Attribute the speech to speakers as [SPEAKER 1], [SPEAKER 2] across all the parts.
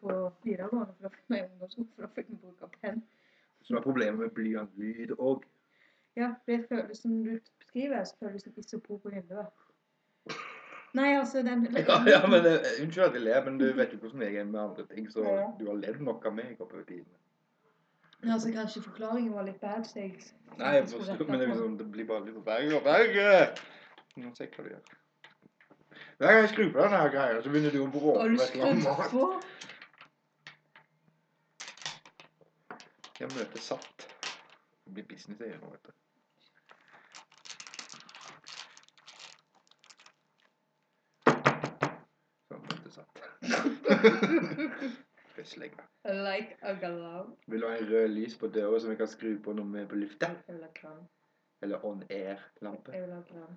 [SPEAKER 1] på fire da, for å finne en ungdomsskole for å få en bok av penn.
[SPEAKER 2] Som er problemet med blyantlyd og
[SPEAKER 1] Ja, for det føles som du beskriver, så føles det som isopor på vinduet. Nei, altså, den
[SPEAKER 2] ja, ja, men eh, Unnskyld at jeg ler, men du vet jo hvordan jeg er med andre ting, så
[SPEAKER 1] Ja.
[SPEAKER 2] du har ledd nok av meg oppover tiden.
[SPEAKER 1] Men altså, kanskje forklaringen var litt bad, så jeg
[SPEAKER 2] Nei, jeg forstår, men det, er liksom, det blir bare litt verre og verre. Nå ser jeg hva du gjør. Hver gang jeg skrur på denne her greia, så begynner du å bråke.
[SPEAKER 1] Har du
[SPEAKER 2] med et eller annet
[SPEAKER 1] skrudd
[SPEAKER 2] mat.
[SPEAKER 1] på?
[SPEAKER 2] Jeg møter satt. Det blir business jeg gjør nå, vet du. Så jeg Sånn, møter satt. Skal jeg slenge.
[SPEAKER 1] Like a galau.
[SPEAKER 2] Vil du ha en rød lys på døra som jeg kan skru på når vi er på lufta?
[SPEAKER 1] Jeg vil ha kran.
[SPEAKER 2] Eller on air-lampe?
[SPEAKER 1] Jeg vil ha kran.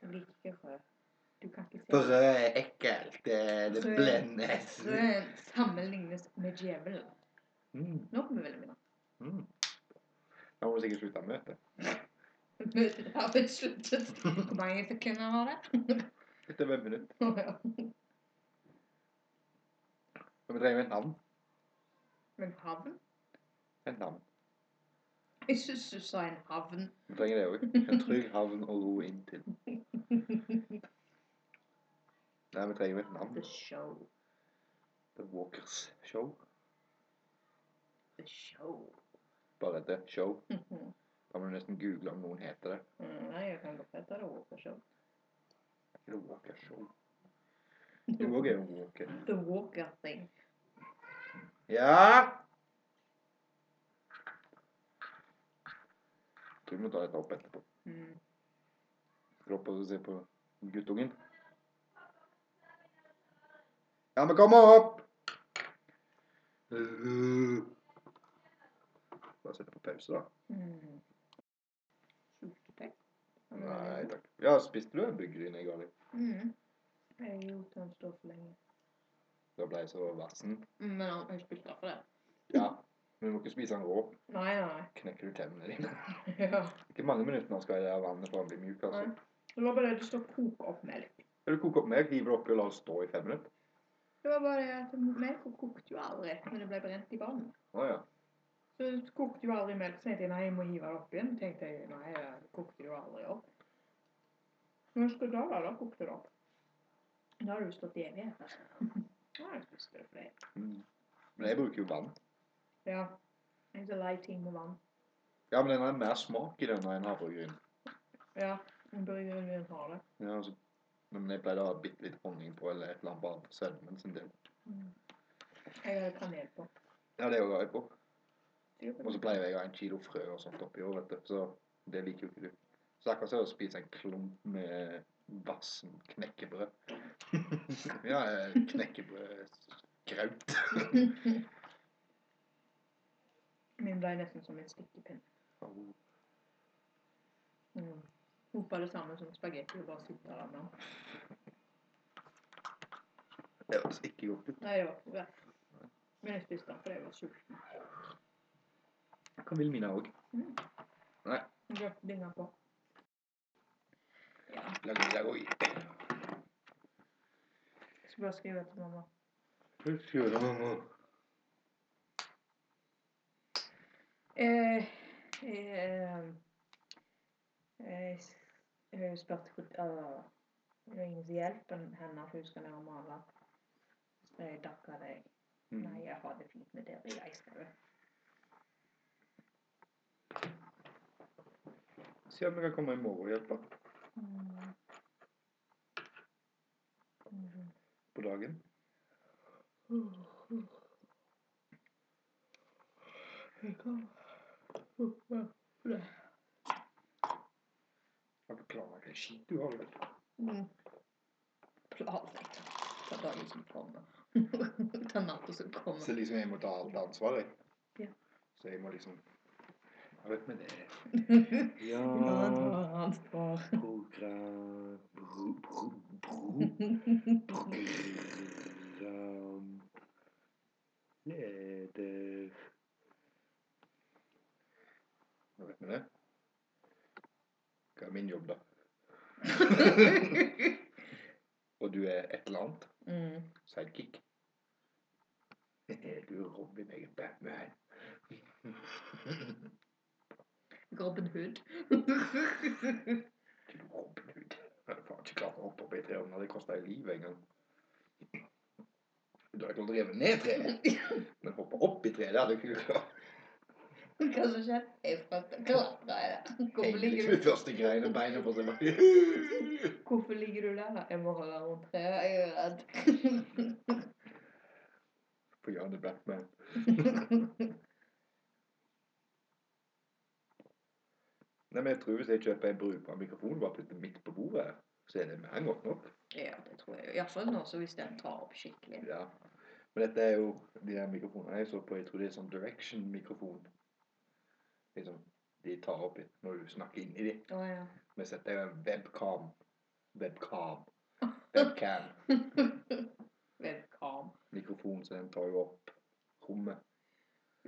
[SPEAKER 1] Jeg liker ikke rød. Du kan ikke
[SPEAKER 2] For
[SPEAKER 1] se
[SPEAKER 2] rød er ekkelt. Det, det
[SPEAKER 1] Rød-
[SPEAKER 2] blendes.
[SPEAKER 1] Rød sammenlignes med djevelen.
[SPEAKER 2] Mm,
[SPEAKER 1] Nå kommer vi veldig mye.
[SPEAKER 2] mm. Da må du sikkert slutte å møte.
[SPEAKER 1] Møtet har blitt sluttet. Hvor mange sekunder var det?
[SPEAKER 2] Etter hvem minutt.
[SPEAKER 1] Å, ja.
[SPEAKER 2] Men vi trenger jo et navn.
[SPEAKER 1] Men havn?
[SPEAKER 2] Et navn.
[SPEAKER 1] Jeg syns du sa en havn.
[SPEAKER 2] Vi trenger det òg. En trygg havn å ro inn til. Nei, vi trenger jo et navn.
[SPEAKER 1] The show.
[SPEAKER 2] The Walkers Show.
[SPEAKER 1] The show.
[SPEAKER 2] Bare The Show.
[SPEAKER 1] Mhm.
[SPEAKER 2] Da må du nesten google om noen heter det.
[SPEAKER 1] Mm, Nei, jeg kan godt hete det Walker Show.
[SPEAKER 2] The Walkers Show. Du òg er jo en walker.
[SPEAKER 1] The Walker Thing.
[SPEAKER 2] Ja! Tror vi må ta dette opp etterpå.
[SPEAKER 1] Mm.
[SPEAKER 2] Skal opp og se på guttungen. Ja, men kom opp! Bare sette på pause, da.
[SPEAKER 1] Mm. Sultetekk?
[SPEAKER 2] Nei takk. Ja, spiste du en byggryn i går?
[SPEAKER 1] Mm. Jeg har gjort den stå for lenge.
[SPEAKER 2] Da ble jeg så vassen.
[SPEAKER 1] Men han har spilt av for det.
[SPEAKER 2] Ja. Men du må ikke spise den rå.
[SPEAKER 1] Nei, nei.
[SPEAKER 2] Knekker du tennene dine.
[SPEAKER 1] Ja.
[SPEAKER 2] Ikke mange minuttene skal jeg ha vannet for han blir mjuk.
[SPEAKER 1] Nei.
[SPEAKER 2] altså.
[SPEAKER 1] Det var bare det at du står og koker opp melk.
[SPEAKER 2] Eller koke opp melk, hive det oppi og la det stå i fem minutter.
[SPEAKER 1] Det var bare det at melk kokte jo aldri, men det ble brent i vann.
[SPEAKER 2] Å ja.
[SPEAKER 1] Så kokte jo aldri melk, så tenkte jeg nei, jeg må hive det opp igjen. Tenkte jeg, nei, det kokte jo aldri opp. Men husker du da, da, da kokte det opp. Da har du jo stått altså. i evigheter. Ja, jeg spiste det for deg.
[SPEAKER 2] Mm. Men jeg bruker jo vann.
[SPEAKER 1] Ja. Det er lei ting med vann.
[SPEAKER 2] Ja, men den har mer smak i den enn havregryn.
[SPEAKER 1] Ja, men burgeren min har det.
[SPEAKER 2] Ja, altså. Men jeg pleide å ha bitte litt honning på sånn eller et eller annet bare for sødmen sin del.
[SPEAKER 1] Mm. Jeg har kanel på.
[SPEAKER 2] Ja, det er jo jeg på.
[SPEAKER 1] Det er jo
[SPEAKER 2] Og så pleier jeg å ha en kilo frø og sånt oppi år, vet du. Så det liker jo ikke du. Stakkars er å spise en klump med vassen knekkebrød. ja, eh, knekkebrødskraut.
[SPEAKER 1] Min ble nesten som en stikkepinn. Mm. Hopa det sammen som spagetti og bare sitte der med den.
[SPEAKER 2] Det høres ikke godt ut.
[SPEAKER 1] Nei, det var ikke det. Men jeg spiste den fordi jeg var sulten.
[SPEAKER 2] Kan Vilmina òg.
[SPEAKER 1] Mm.
[SPEAKER 2] Nei.
[SPEAKER 1] Jeg drakk dinga på. Ja,
[SPEAKER 2] Lag middag òg.
[SPEAKER 1] jeg skal bare skrive til mamma.
[SPEAKER 2] Husk å gjøre det, mamma.
[SPEAKER 1] Eh, eh, eh, jeg spurte hvordan Det var ingen som hjalp henne, for hun skal ned og male. Så jeg takka deg.
[SPEAKER 2] Mm.
[SPEAKER 1] Nei, jeg har det fint med dere, jeg skal det.
[SPEAKER 2] Se om jeg kan komme i morgen og hjelpe på dagen. Har du planlagt en skit du har? vel?
[SPEAKER 1] Mm. Planlagt. Ta dagen som kommer. Ta natta som
[SPEAKER 2] Så
[SPEAKER 1] kommer.
[SPEAKER 2] liksom jeg må ta alt ansvar, jeg.
[SPEAKER 1] Ja.
[SPEAKER 2] Så jeg må liksom Jeg vet med det. Ja,
[SPEAKER 1] Ja, ta ansvar.
[SPEAKER 2] program... Bro, bro, bro, program... Leder... Jeg vet med det. Hva er min jobb, da? Og du er et eller annet?
[SPEAKER 1] Mm.
[SPEAKER 2] Sidekick? du Robin jeg er Batman.
[SPEAKER 1] Robin Hood.
[SPEAKER 2] Ikke du Robin Hood. Jeg har faen ikke klart å hoppe opp i tre ovner. Det kosta ei liv en gang. Du hadde kunnet rive ned treet, men hoppe opp i treet, det hadde du ikke klart.
[SPEAKER 1] Hva som skjer? Jeg prøvde å klatre i det. Hvorfor
[SPEAKER 2] Henger
[SPEAKER 1] ligger
[SPEAKER 2] ikke
[SPEAKER 1] du
[SPEAKER 2] de første greiene beina på seg bare
[SPEAKER 1] Hvorfor ligger du der? da? Jeg må holde rundt treet. Jeg er redd.
[SPEAKER 2] på hjørnet Batman. Nei, men jeg tror hvis jeg kjøper en brukbar mikrofon og bare putter den midt på bordet, her, så er det mer godt nok.
[SPEAKER 1] ja, det tror jeg. Iallfall nå så hvis den tar opp skikkelig.
[SPEAKER 2] Ja. Men dette er jo de der mikrofonene jeg så på. Jeg tror det er sånn direction-mikrofon. Liksom, de tar opp i- når du snakker inn i dem.
[SPEAKER 1] Å ja.
[SPEAKER 2] Men dette er jo en eh, webcam. Webcam. Webcam.
[SPEAKER 1] Webcam.
[SPEAKER 2] Mikrofon, så den tar jo opp rommet.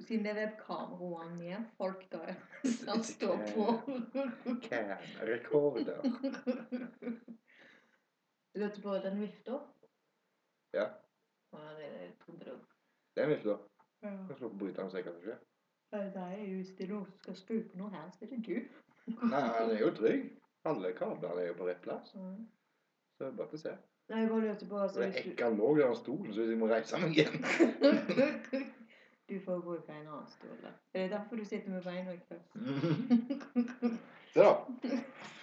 [SPEAKER 1] Siden det er webcam, roer han ned folk da han står på.
[SPEAKER 2] Cam. Rekorder.
[SPEAKER 1] Du vet på den vifta?
[SPEAKER 2] Ja.
[SPEAKER 1] Å, det er- jeg trodde det.
[SPEAKER 2] Det er visst da.
[SPEAKER 1] Ja.
[SPEAKER 2] Kan slå på bryteren og se hva som skjer.
[SPEAKER 1] Det er jo hvis det er noen som skal skru på noe her, så er det du.
[SPEAKER 2] Nei, han er jo trygg. Alle kablene er jo på rett plass.
[SPEAKER 1] Mm.
[SPEAKER 2] Så det er bare til å se.
[SPEAKER 1] Nei, jeg bare lurte på
[SPEAKER 2] Og
[SPEAKER 1] altså,
[SPEAKER 2] det
[SPEAKER 1] hvis du...
[SPEAKER 2] hekka lå der av stolen, så hvis jeg må reise meg igjen
[SPEAKER 1] Du får bruke en annen stol. da. Er det derfor du sitter med beina i kryss?
[SPEAKER 2] Se da.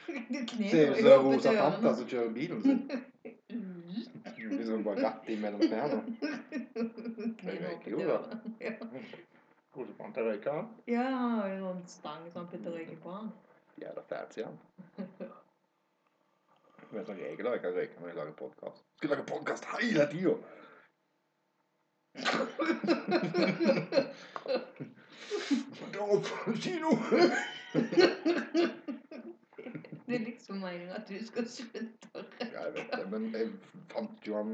[SPEAKER 1] Du
[SPEAKER 2] Ser
[SPEAKER 1] kneper
[SPEAKER 2] ut
[SPEAKER 1] jo
[SPEAKER 2] som
[SPEAKER 1] opp i
[SPEAKER 2] Rosa Fanta altså.
[SPEAKER 1] døren.
[SPEAKER 2] som kjører bilen sin.
[SPEAKER 1] Mm.
[SPEAKER 2] Liksom bare rett imellom knærne.
[SPEAKER 1] Kneper opp i
[SPEAKER 2] røyker jo, da.
[SPEAKER 1] døren. Ja.
[SPEAKER 2] Rosa Fanta røyker han.
[SPEAKER 1] Ja, han har jo sånn stang som han putter røyken på han.
[SPEAKER 2] Jævla fancy han. Vet dere regler jeg kan røyke når jeg lager podkast? Skal lage podkast hele tida! Da får du si noe!
[SPEAKER 1] Det er liksom meningen at du skal slutte å røyke.
[SPEAKER 2] Ja, jeg vet det, men jeg fant jo han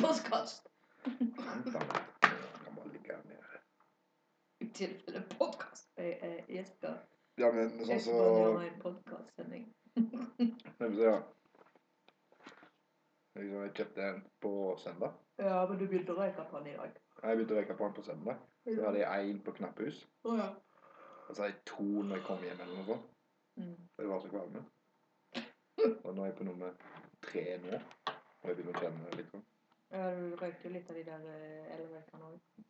[SPEAKER 1] Postkast.
[SPEAKER 2] Fant han. Jeg kan bare ligge her nede.
[SPEAKER 1] I tilfelle podkast. Jeg er Jesper.
[SPEAKER 2] Ja, men sånn
[SPEAKER 1] Jesper
[SPEAKER 2] så
[SPEAKER 1] gjør en podkastsending.
[SPEAKER 2] Nei, men så, ja. Liksom, Jeg kjøpte en på søndag.
[SPEAKER 1] Ja, men du begynte å røyke på den i dag.
[SPEAKER 2] Nei, Jeg begynte å røyke på den på søndag. Så hadde jeg én på knapphus.
[SPEAKER 1] Å ja.
[SPEAKER 2] Og så hadde jeg to når jeg kom hjem eller noe sånt.
[SPEAKER 1] Mm.
[SPEAKER 2] For Jeg var så kvalm. Og nå er jeg på nummer tre nå. Og jeg begynner å kjenne det litt sånn.
[SPEAKER 1] Ja, du røykte jo litt av de der eh, elverkene òg.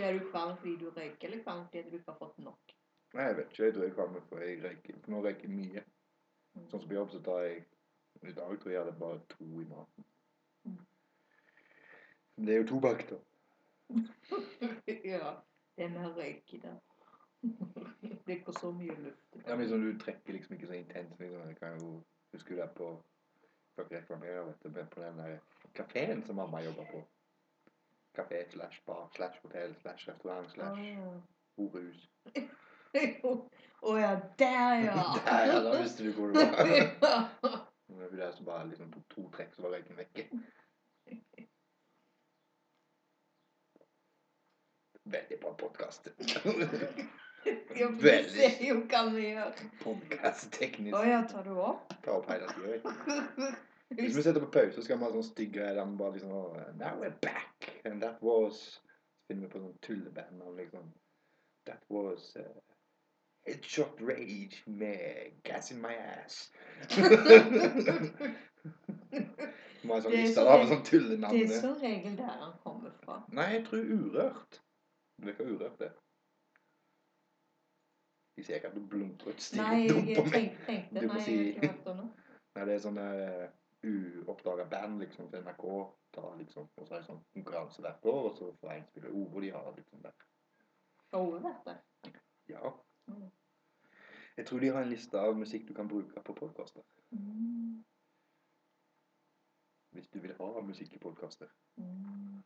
[SPEAKER 1] Ja, er du kvalm fordi du røyker, eller kvalm fordi du ikke har fått nok?
[SPEAKER 2] Nei, jeg vet ikke. Jeg tror jeg er kvalm for jeg røyker. For nå røyker jeg mye.
[SPEAKER 1] Mm.
[SPEAKER 2] Sånn som på jobb, så tar jeg I dag tror jeg jeg hadde bare to i maten.
[SPEAKER 1] Mm.
[SPEAKER 2] Det er jo tobakk, da.
[SPEAKER 1] ja. Det er mer røyk i det. det går så mye luft i
[SPEAKER 2] Ja, men
[SPEAKER 1] det.
[SPEAKER 2] liksom, du trekker liksom ikke så intenst. Liksom. Jeg kan jo huske det på Skal ikke reklamere, vet du, men på den der kafeen som mamma jobba på. Kafé slash bar slash hotell slash restaurant slash
[SPEAKER 1] Ah.
[SPEAKER 2] horehus.
[SPEAKER 1] Å ja, der ja!
[SPEAKER 2] Ah. Der, ja, da visste du hvor du var.
[SPEAKER 1] ja.
[SPEAKER 2] Men Det er jo der som bare liksom tok to trekk, så var røyken vekke. Veldig bra podkast.
[SPEAKER 1] Ja, for
[SPEAKER 2] Veldig.
[SPEAKER 1] du ser jo hva vi gjør. Å
[SPEAKER 2] Podkast-teknisk.
[SPEAKER 1] ja, tar du opp?
[SPEAKER 2] Ta opp hele tida. Hvis vi setter på pause, så skal vi ha sånn stygg greie der vi bare liksom Now we're back, and that was Så finner vi på sånn tulleband og liksom That was uh, Headshot Rage med Gas in my ass. Vi har en
[SPEAKER 1] Det er
[SPEAKER 2] sånn liste
[SPEAKER 1] så
[SPEAKER 2] der
[SPEAKER 1] lenge-
[SPEAKER 2] med
[SPEAKER 1] Det
[SPEAKER 2] sånn
[SPEAKER 1] er
[SPEAKER 2] tullenavn.
[SPEAKER 1] som regel der han kommer fra.
[SPEAKER 2] Nei, jeg tror Urørt. Du vet hva Urørt er? De ser ikke at du blunker og
[SPEAKER 1] Nei,
[SPEAKER 2] stirrer dumt
[SPEAKER 1] jeg
[SPEAKER 2] på meg.
[SPEAKER 1] tenk, tenkte
[SPEAKER 2] Du må
[SPEAKER 1] Nei,
[SPEAKER 2] si-
[SPEAKER 1] jeg har ikke hørt om det.
[SPEAKER 2] Nei, det er sånn uh, uoppdaga band liksom, til NRK. tar liksom, og så er det sånn konkurranse hvert år, og så får en spille ord, og de har liksom det.
[SPEAKER 1] Over dette.
[SPEAKER 2] Ja.
[SPEAKER 1] Mm.
[SPEAKER 2] Jeg tror de har en liste av musikk du kan bruke på podkaster.
[SPEAKER 1] Mm,
[SPEAKER 2] Hvis du vil ha musikk i podkaster.
[SPEAKER 1] mm,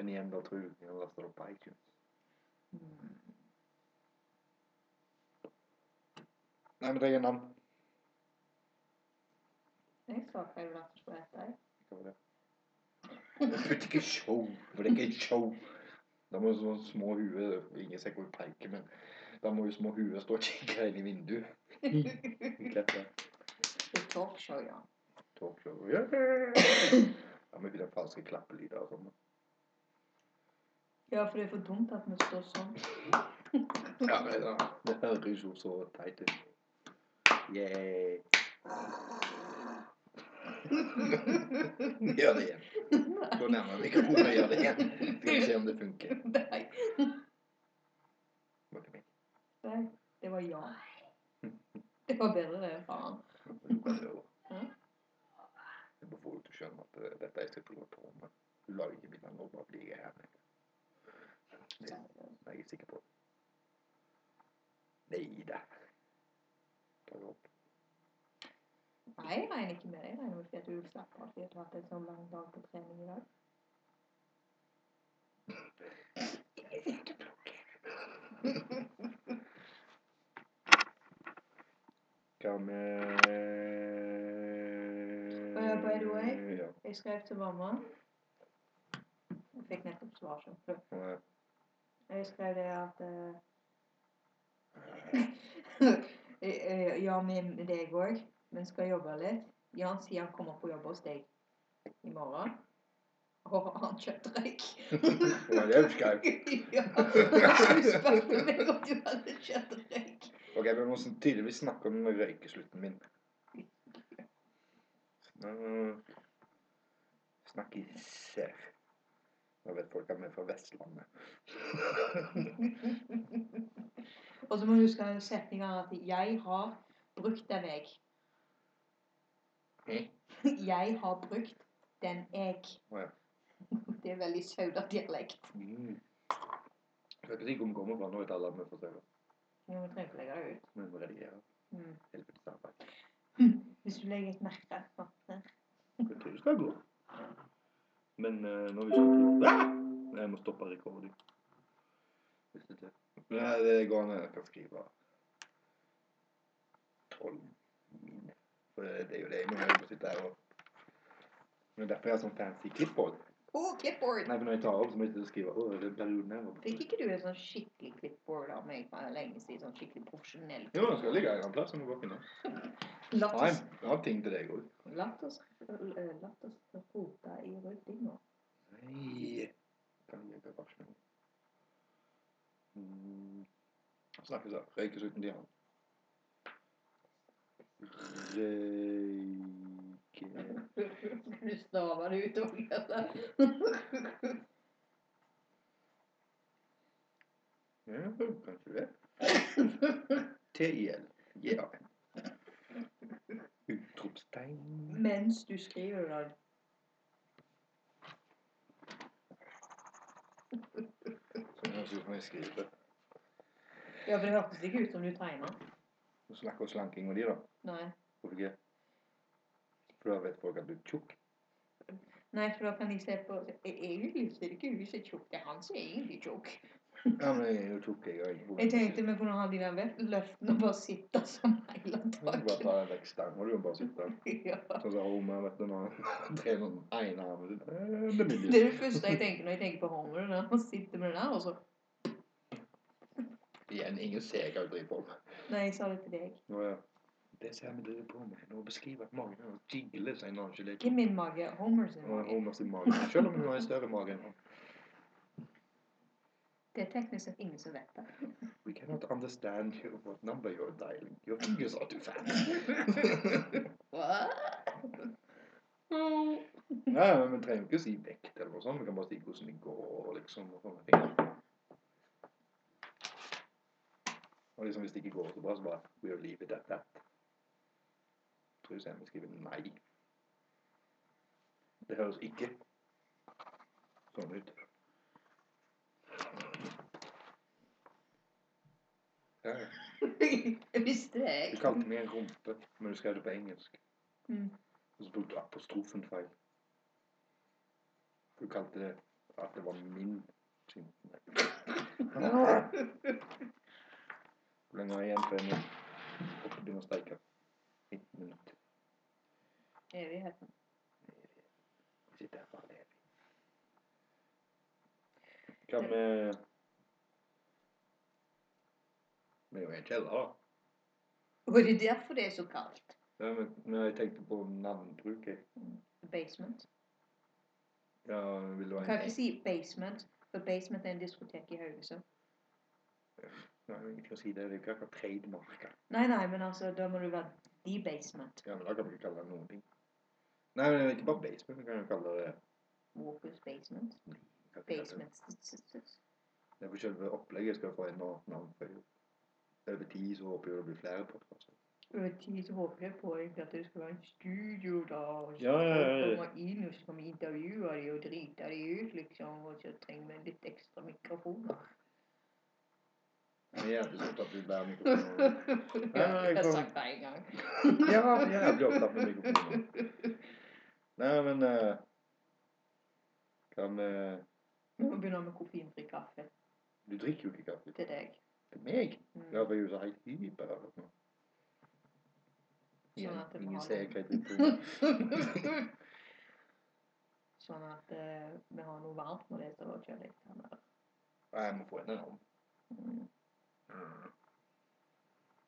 [SPEAKER 2] Men igjen, da tror jeg du kan laste det opp på iTunes.
[SPEAKER 1] mm.
[SPEAKER 2] Nei, men det er navn.
[SPEAKER 1] Jeg sa hva du lærte på dette. jeg.
[SPEAKER 2] Hva var det? Det er ikke show, for det er ikke show. Da må jo sånne små huer Ingen ser hvor vi peker, men da må jo små huer stå og kikke inn i vinduet. Kleppe.
[SPEAKER 1] Det er talkshow, ja.
[SPEAKER 2] Talkshow. Yeah. om ikke den falske klappelyder og sånn.
[SPEAKER 1] Ja, for det er for dumt at vi står sånn.
[SPEAKER 2] Ja, men da, det høres jo så teit ut. Yeah. Gjør det igjen. Gå nærmere mikrofonen og gjør det igjen. Skal vi se om det funker.
[SPEAKER 1] Nei.
[SPEAKER 2] Var ikke meg.
[SPEAKER 1] Nei. Det var ja. Det var bedre det, faen.
[SPEAKER 2] Det var bare å-
[SPEAKER 1] Hæ?
[SPEAKER 2] Jeg bare får jo til å skjønne at eh, dette er jeg sikkert på med. Du lager ikke bilder nå, bare blir jeg her. Det er jeg sikker på. Nei da. Ta det opp.
[SPEAKER 1] Nei, jeg regner ikke med det. Jeg regner med at du vil slappe av fordi du har hatt en sånn lang dag på trening i dag.
[SPEAKER 2] Hva med
[SPEAKER 1] Eh, by the way.
[SPEAKER 2] Ja.
[SPEAKER 1] Jeg skrev til mamma. Jeg fikk nettopp svar. sånn.
[SPEAKER 2] Nå er-
[SPEAKER 1] Jeg skrev det at eh, Ja, med deg òg, men skal jobbe litt. Jan sier han kommer på jobb hos deg i morgen. Og han kjøttreik.
[SPEAKER 2] Ja, det husker jeg.
[SPEAKER 1] ja. Du spurte meg om du hadde kjøttreik.
[SPEAKER 2] Ok, vi må sn- tydeligvis snakke om røykeslutten min. Snak- Snakkiser. Nå vet folk at vi er fra Vestlandet.
[SPEAKER 1] Og så må du huske den setningen at 'jeg har brukt den jeg'.
[SPEAKER 2] Hæ?
[SPEAKER 1] 'Jeg har brukt den jeg'.
[SPEAKER 2] Å ja.
[SPEAKER 1] Det er veldig sauda-dialekt.
[SPEAKER 2] Mm. Jeg vet ikke hvor vi kommer fra nå, et alle vi får se.
[SPEAKER 1] Men vi trenger ikke legge det ut.
[SPEAKER 2] Men vi redigerer.
[SPEAKER 1] Mm.
[SPEAKER 2] Helvete arbeid.
[SPEAKER 1] Hvis du legger et merke sånn her.
[SPEAKER 2] Det tror jeg skal gå. Men eh, når vi skal ah! Jeg må stoppe rekording. Hvis det ikke Nei, det går an. Jeg kan skrive 12 min. For det er jo det jeg må gjøre. Sitte her og Men derfor jeg har sånn fancy clipboard.
[SPEAKER 1] Å, clipboard!
[SPEAKER 2] Nei, men når jeg tar opp, så må jeg ikke skrive Å, den perioden her var
[SPEAKER 1] Fikk ikke du en sånn skikkelig clipboard av meg for lenge siden? Sånn skikkelig profesjonell?
[SPEAKER 2] Jo, den skal ligge en annen plass. Jeg må bare finne den.
[SPEAKER 1] La
[SPEAKER 2] Nei,
[SPEAKER 1] oss,
[SPEAKER 2] jeg har ting til deg òg.
[SPEAKER 1] la oss, eh, la oss rote i ryddinga.
[SPEAKER 2] Nei Kan jeg ikke varsle noe? Mm. Snakkes da. Røykes uten dian. Røyke...
[SPEAKER 1] Du staver det ut òg, altså.
[SPEAKER 2] Ja, kanskje det. TL. Ja. Utropstegn.
[SPEAKER 1] Mens du skriver det.
[SPEAKER 2] Sånn høres ut som jeg skriver.
[SPEAKER 1] Ja, for det hørtes ikke ut som du tegner.
[SPEAKER 2] Nå snakker vi slanking og de da.
[SPEAKER 1] Nei.
[SPEAKER 2] Hvorfor ikke? For da vet folk at du er tjukk.
[SPEAKER 1] Nei, for da kan de se på Egentlig ser ikke hun så tjukk ut. Det er han som er egentlig tjukk.
[SPEAKER 2] Ja, men jeg er jo tjukk, jeg. har ikke
[SPEAKER 1] Jeg
[SPEAKER 2] problemer.
[SPEAKER 1] tenkte vi kunne ha de der vef- løftene og bare sitte som hele
[SPEAKER 2] Du kan Bare
[SPEAKER 1] dagen.
[SPEAKER 2] ta deg vekk stangen, og du kan bare sitte der.
[SPEAKER 1] Ja.
[SPEAKER 2] Sånn som Homer, vet du, når han trener den ene armen sin. Eh, Det blir
[SPEAKER 1] Det er det første jeg tenker når jeg tenker på Homer. Når han sitter med det der, og så
[SPEAKER 2] Igjen, ingen ser hva du driver på med.
[SPEAKER 1] Nei, jeg sa det til deg.
[SPEAKER 2] Nå, ja. Det ser vi driver på med. Nå beskriver jeg magen hans jigle seg når han ikke liker
[SPEAKER 1] Ikke min mage, Homer sin
[SPEAKER 2] Og
[SPEAKER 1] mage.
[SPEAKER 2] Homer sin mage. Selv om han har en større mage enn han.
[SPEAKER 1] Det er teknisk sett ingen som vet det.
[SPEAKER 2] We cannot understand you, what number you're dialing. Your fingers are too fat.
[SPEAKER 1] Hva? Au.
[SPEAKER 2] Nei, men vi trenger jo ikke å si vekt eller noe sånt. Vi kan bare si hvordan det går, liksom. Og sånne ting. Og liksom, hvis det ikke går så bra, så bare We'll leave it at that. Tror jeg Sam skriver nei. Det høres ikke sånn ut. Ja, ja.
[SPEAKER 1] Jeg visste det,
[SPEAKER 2] Du
[SPEAKER 1] jeg.
[SPEAKER 2] kalte meg en rumpe, men du skrev det på engelsk.
[SPEAKER 1] Mm.
[SPEAKER 2] Og så brukte du apostrofen feil. Du kalte det at det var min sin. Nei. Hvor lenge har jeg igjen før jeg må opp og begynne å steike? Ett minutt.
[SPEAKER 1] Evigheten.
[SPEAKER 2] Sitt her bare leve. Hva med Vi er jo i en kjeller, da.
[SPEAKER 1] Og det er derfor det er så kaldt.
[SPEAKER 2] Ja, men men jeg tenkte på navnbruket.
[SPEAKER 1] Basement.
[SPEAKER 2] Ja, vil du ha
[SPEAKER 1] Kan
[SPEAKER 2] en
[SPEAKER 1] ikke si basement, for basement er en diskotek i Haugesund.
[SPEAKER 2] Nei, det er ingenting å si det. Det er jo ikke akkurat trademarka.
[SPEAKER 1] Nei, nei, men altså, da må du være the basement.
[SPEAKER 2] Ja, men da kan du ikke kalle det noen ting. Nei, men det er ikke bare basement. Du kan jo kalle det
[SPEAKER 1] Walkers basement.
[SPEAKER 2] kan ikke kalle det-
[SPEAKER 1] Basement.
[SPEAKER 2] Det er for selve opplegget skal få en annen navn for jo. Over tid så håper jeg det blir flere podkaster.
[SPEAKER 1] Over tid Øh, så håper jeg på egentlig at det skal være en studio da, og så
[SPEAKER 2] Ja, ja, ja, ja.
[SPEAKER 1] folk kommer inn og så kan vi intervjue de og drite de ut, liksom, og så trenger vi litt ekstra mikrofoner.
[SPEAKER 2] Men jeg er jævlig opptatt av bærer mikrofonen.
[SPEAKER 1] Jeg
[SPEAKER 2] Nei, nei, jeg
[SPEAKER 1] har
[SPEAKER 2] kom-
[SPEAKER 1] sagt det en gang.
[SPEAKER 2] Ja, jeg er jævlig opptatt med mikrofonen. Nei, men eh, Hva med
[SPEAKER 1] Vi må begynne med koffeinfri kaffe
[SPEAKER 2] Du drikker jo ikke kaffe.
[SPEAKER 1] til ddeg.
[SPEAKER 2] Til meg?
[SPEAKER 1] Mm.
[SPEAKER 2] Ja, for jeg er jo så helt hyper. eller noe.
[SPEAKER 1] Sånn at det må
[SPEAKER 2] Ingen
[SPEAKER 1] ha
[SPEAKER 2] ser
[SPEAKER 1] litt-
[SPEAKER 2] hva jeg drikker.
[SPEAKER 1] sånn at eh, vi har noe varmt når det er så kjølig.
[SPEAKER 2] Nei, Jeg må få en annen.
[SPEAKER 1] Mm.
[SPEAKER 2] Mm.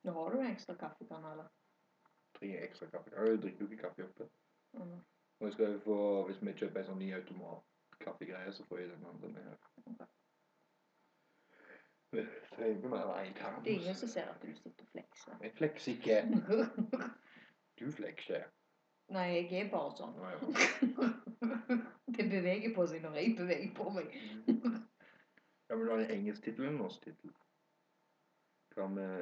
[SPEAKER 1] Nå har du en ekstra kaffekanne, eller?
[SPEAKER 2] Trenger ekstra kaffe. Ja, Jeg drikker jo ikke kaffe oppe.
[SPEAKER 1] Mm.
[SPEAKER 2] Og jeg skal jo få, hvis vi kjøper en sånn ny automatkaffegreie, så får jeg den andre med her. Jeg trenger ikke mer enn
[SPEAKER 1] Det er ingen
[SPEAKER 2] kaffe.
[SPEAKER 1] som ser at du sitter og flekser.
[SPEAKER 2] Jeg flekser ikke. Du flekser.
[SPEAKER 1] Nei, jeg er bare sånn.
[SPEAKER 2] Nå, ja.
[SPEAKER 1] Det beveger på seg når jeg beveger på meg.
[SPEAKER 2] Ja, men du har en engelsk tittel eller en norsk tittel? Hva med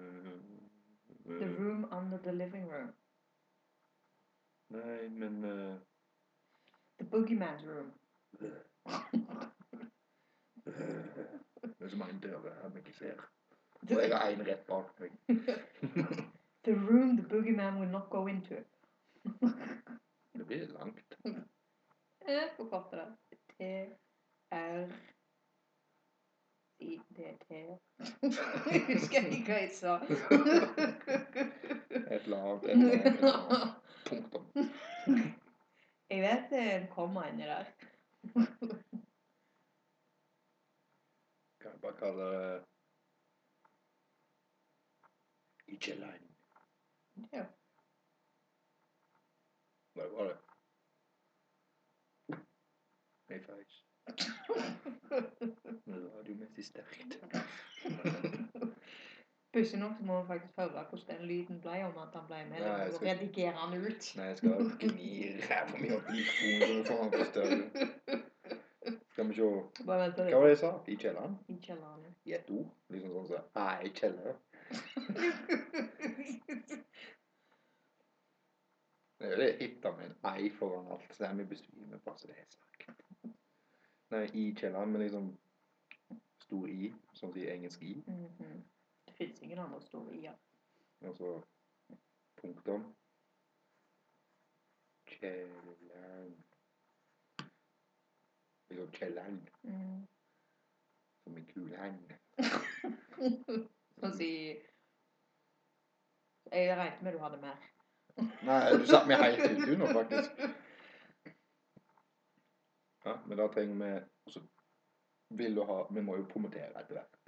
[SPEAKER 2] øh,
[SPEAKER 1] The
[SPEAKER 2] øh,
[SPEAKER 1] room under the living room.
[SPEAKER 2] Nei, men øh,
[SPEAKER 1] The boogeyman's room.
[SPEAKER 2] Det er så mange dører her vi ikke ser. Og jeg
[SPEAKER 1] The,
[SPEAKER 2] har én rett bak meg.
[SPEAKER 1] the room the boogeyman will not go into.
[SPEAKER 2] Det blir langt.
[SPEAKER 1] Eh, Forkorte det. T-r-i-d-t. Jeg husker ikke hva jeg sa.
[SPEAKER 2] Et eller annet. Et eller annet, et eller annet. Punktum.
[SPEAKER 1] Jeg vet det er en komma inni der.
[SPEAKER 2] Kan jeg bare kalle det I kjelleren.
[SPEAKER 1] Ja.
[SPEAKER 2] Det var det. High fives. Men Radiomessig sterkt.
[SPEAKER 1] Pussig nok så må vi faktisk høre hvordan den lyden ble, om at han ble med.
[SPEAKER 2] Nei, jeg
[SPEAKER 1] og
[SPEAKER 2] skal-
[SPEAKER 1] redigere han ut.
[SPEAKER 2] Nei, jeg skal gni ræva mi opp i mikrofonen. så får han på større. Skal vi se
[SPEAKER 1] Bare vent
[SPEAKER 2] Hva
[SPEAKER 1] litt.
[SPEAKER 2] var det jeg sa? I kjelleren?
[SPEAKER 1] I kjelleren.
[SPEAKER 2] I ett ord? Liksom sånn som så. I kjelleren. Det er jo det hitta med en ei foran alt. Så dermed besvimer bare så det er snakk. Nei, i kjelleren, men liksom stor i, som sier engelsk i,
[SPEAKER 1] Mhm. Det fins ingen andre store i-er.
[SPEAKER 2] og så punktum. Kjelleren. Liksom kjelleren, Mhm.
[SPEAKER 1] Mm.
[SPEAKER 2] som en kuleren.
[SPEAKER 1] Sånn å si Jeg regnet med du hadde mer.
[SPEAKER 2] Nei, du satte meg helt ut du, nå, faktisk. Ja, men da trenger vi også vil du ha, Vi må jo promotere etter hvert.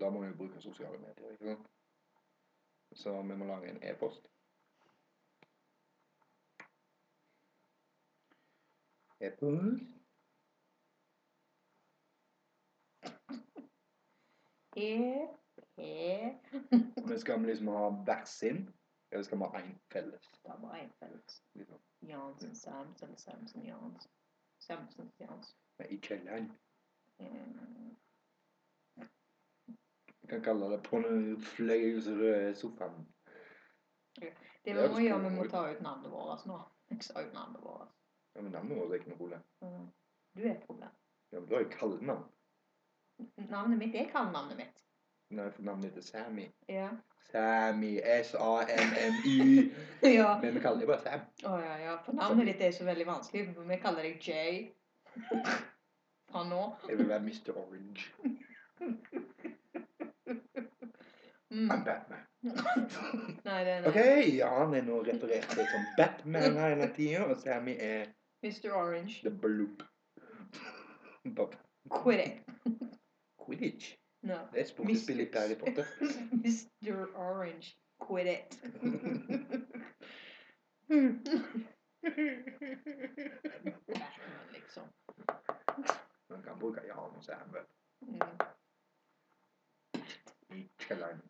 [SPEAKER 2] Da må vi jo bruke sosiale medier. ikke sant? Så vi må lage en e-post. E-post
[SPEAKER 1] E, e
[SPEAKER 2] Men skal vi liksom ha hver sin, eller skal vi ha én felles?
[SPEAKER 1] Det var bare en felles.
[SPEAKER 2] Liksom?
[SPEAKER 1] Jansen, Samson, Samson, Jansen. Samson, Jansen.
[SPEAKER 2] Nei, I kjelleren.
[SPEAKER 1] Mm.
[SPEAKER 2] Vi kan kalle det 'På den fløyelsrøde sofaen'.
[SPEAKER 1] Det vi
[SPEAKER 2] Ja,
[SPEAKER 1] må
[SPEAKER 2] det
[SPEAKER 1] gjøre,
[SPEAKER 2] skal
[SPEAKER 1] vi må
[SPEAKER 2] vi.
[SPEAKER 1] ta ut navnet vårt nå. Jeg sa jo navnet vårt.
[SPEAKER 2] Ja, men navnet vårt er ikke noe problem.
[SPEAKER 1] Mm. Du er et problem.
[SPEAKER 2] Ja, men du har jo kallenavn.
[SPEAKER 1] Navnet mitt er kallenavnet mitt.
[SPEAKER 2] Nei, for navnet heter Sammy.
[SPEAKER 1] Ja.
[SPEAKER 2] Sammy, S-A-M-M-Y.
[SPEAKER 1] ja.
[SPEAKER 2] Men vi kaller det bare Sam.
[SPEAKER 1] Å ja, ja. For navnet ditt er så veldig vanskelig. for Vi kaller deg Jay. Fra nå.
[SPEAKER 2] Jeg vil være Mr. Orange.
[SPEAKER 1] Mm.
[SPEAKER 2] I'm Batman.
[SPEAKER 1] Nei, det er
[SPEAKER 2] Ok, ja, han er nå referert til som Batman hele tida, og Sammy er
[SPEAKER 1] Mr. Orange.
[SPEAKER 2] the bloop. Bob
[SPEAKER 1] Quit it.
[SPEAKER 2] Quidditch.
[SPEAKER 1] No.
[SPEAKER 2] Det er
[SPEAKER 1] Mr.
[SPEAKER 2] sportsspill i Harry Potter.
[SPEAKER 1] Mr. Orange. Quit it. Batman, liksom.
[SPEAKER 2] Man kan bruke Jan og Samuel
[SPEAKER 1] Mm.
[SPEAKER 2] i kjelleren.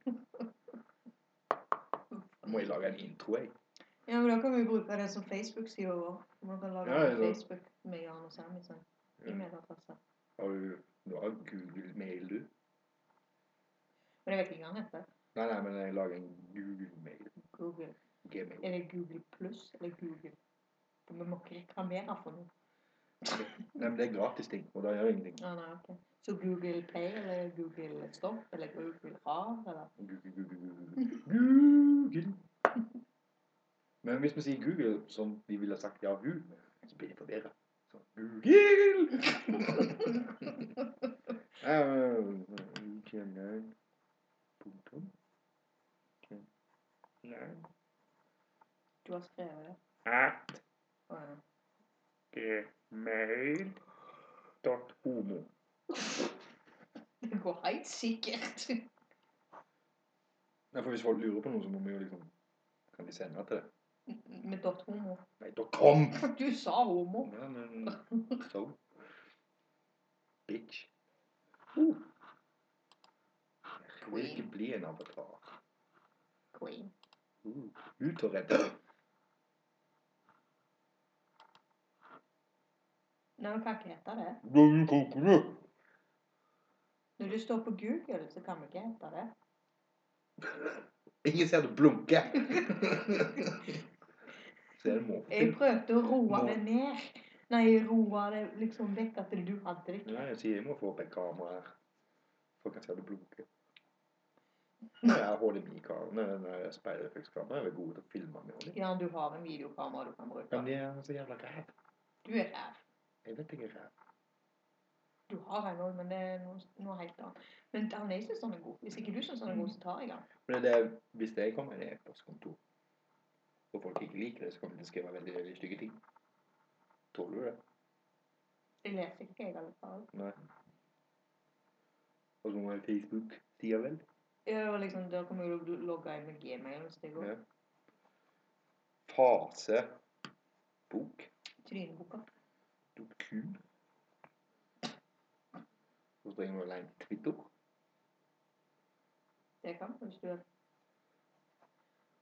[SPEAKER 2] Da må jeg lage en intro, jeg.
[SPEAKER 1] Ja, men da kan vi bruke det som Facebook-sida vår. Man kan lage
[SPEAKER 2] Ja,
[SPEAKER 1] en
[SPEAKER 2] ja, ja.
[SPEAKER 1] Facebook med Jan og sånn. Samuelsen. I
[SPEAKER 2] Mm.
[SPEAKER 1] medadresse.
[SPEAKER 2] Har du, du har Google-mail, du?
[SPEAKER 1] Men jeg vet ikke hva han heter.
[SPEAKER 2] Nei, nei, men jeg lager en Google-mail.
[SPEAKER 1] Google.
[SPEAKER 2] Gmail.
[SPEAKER 1] Er det Google pluss eller Google? Vi må ikke reklamere for noe.
[SPEAKER 2] Nei, men det er gratis ting, og da gjør jeg ingenting.
[SPEAKER 1] Ah, nei, ok. Så Google Play eller Google Stopp eller Google Rar eller
[SPEAKER 2] Google, Google, Google. Google. Men hvis vi sier Google som de ville sagt Yahoo, så blir de forvirra. Så Google! Eh, Kjelleren Punktum. Kjelleren
[SPEAKER 1] Du har skrevet det.
[SPEAKER 2] At
[SPEAKER 1] Å, ja.
[SPEAKER 2] gmail.homo.
[SPEAKER 1] Det går helt sikkert.
[SPEAKER 2] Nei, for hvis folk lurer på noe, så må vi jo liksom Kan de sende til det?
[SPEAKER 1] Med dot homo.
[SPEAKER 2] Nei, da kom!
[SPEAKER 1] Du sa homo.
[SPEAKER 2] Ja, men Så. Bitch. Uh. Jeg vil ikke bli en avatar.
[SPEAKER 1] Queen.
[SPEAKER 2] Uh. Ut og redde.
[SPEAKER 1] Nei, vi kan ikke hete det.
[SPEAKER 2] Hvordan koker du?
[SPEAKER 1] Når du står på Google, så kan vi ikke hete det.
[SPEAKER 2] Ingen ser du blunke. Så er det
[SPEAKER 1] Jeg
[SPEAKER 2] måpen.
[SPEAKER 1] prøvde å roe
[SPEAKER 2] Må-
[SPEAKER 1] det ned. Nei, roe det liksom vekk at du hadde det.
[SPEAKER 2] Nei, jeg sier jeg må få opp et kamera her. Folk kan se du blunke. Nei, jeg har HDMI-kamera. Nei, nei, speilreflekskamera. Jeg er god til å filme med HDMI.
[SPEAKER 1] Ja, du har en videokamera du kan
[SPEAKER 2] Men
[SPEAKER 1] bruke.
[SPEAKER 2] det eh, er så jævla greit.
[SPEAKER 1] Du er her.
[SPEAKER 2] Jeg vet ikke hva.
[SPEAKER 1] Du har en òg, men det er noe, noe helt annet. Men han jeg syns han er god. Hvis ikke du syns han er god, så tar jeg han.
[SPEAKER 2] Men det, er- hvis jeg kommer i et postkontor, og folk ikke liker det, så kommer de til å skrive veldig, veldig stygge ting. Tåler du det?
[SPEAKER 1] Jeg leser ikke, jeg, i alle fall.
[SPEAKER 2] Nei. Og så må jeg Facebook-sida vel?
[SPEAKER 1] Ja, og liksom, Da kommer jeg til å logge inn med gmailen hvis det går.
[SPEAKER 2] Ja. Fasebok.
[SPEAKER 1] Tryneboka.
[SPEAKER 2] Dop kul. Så springer du alene Twitter.
[SPEAKER 1] Det kan du hvis du vil.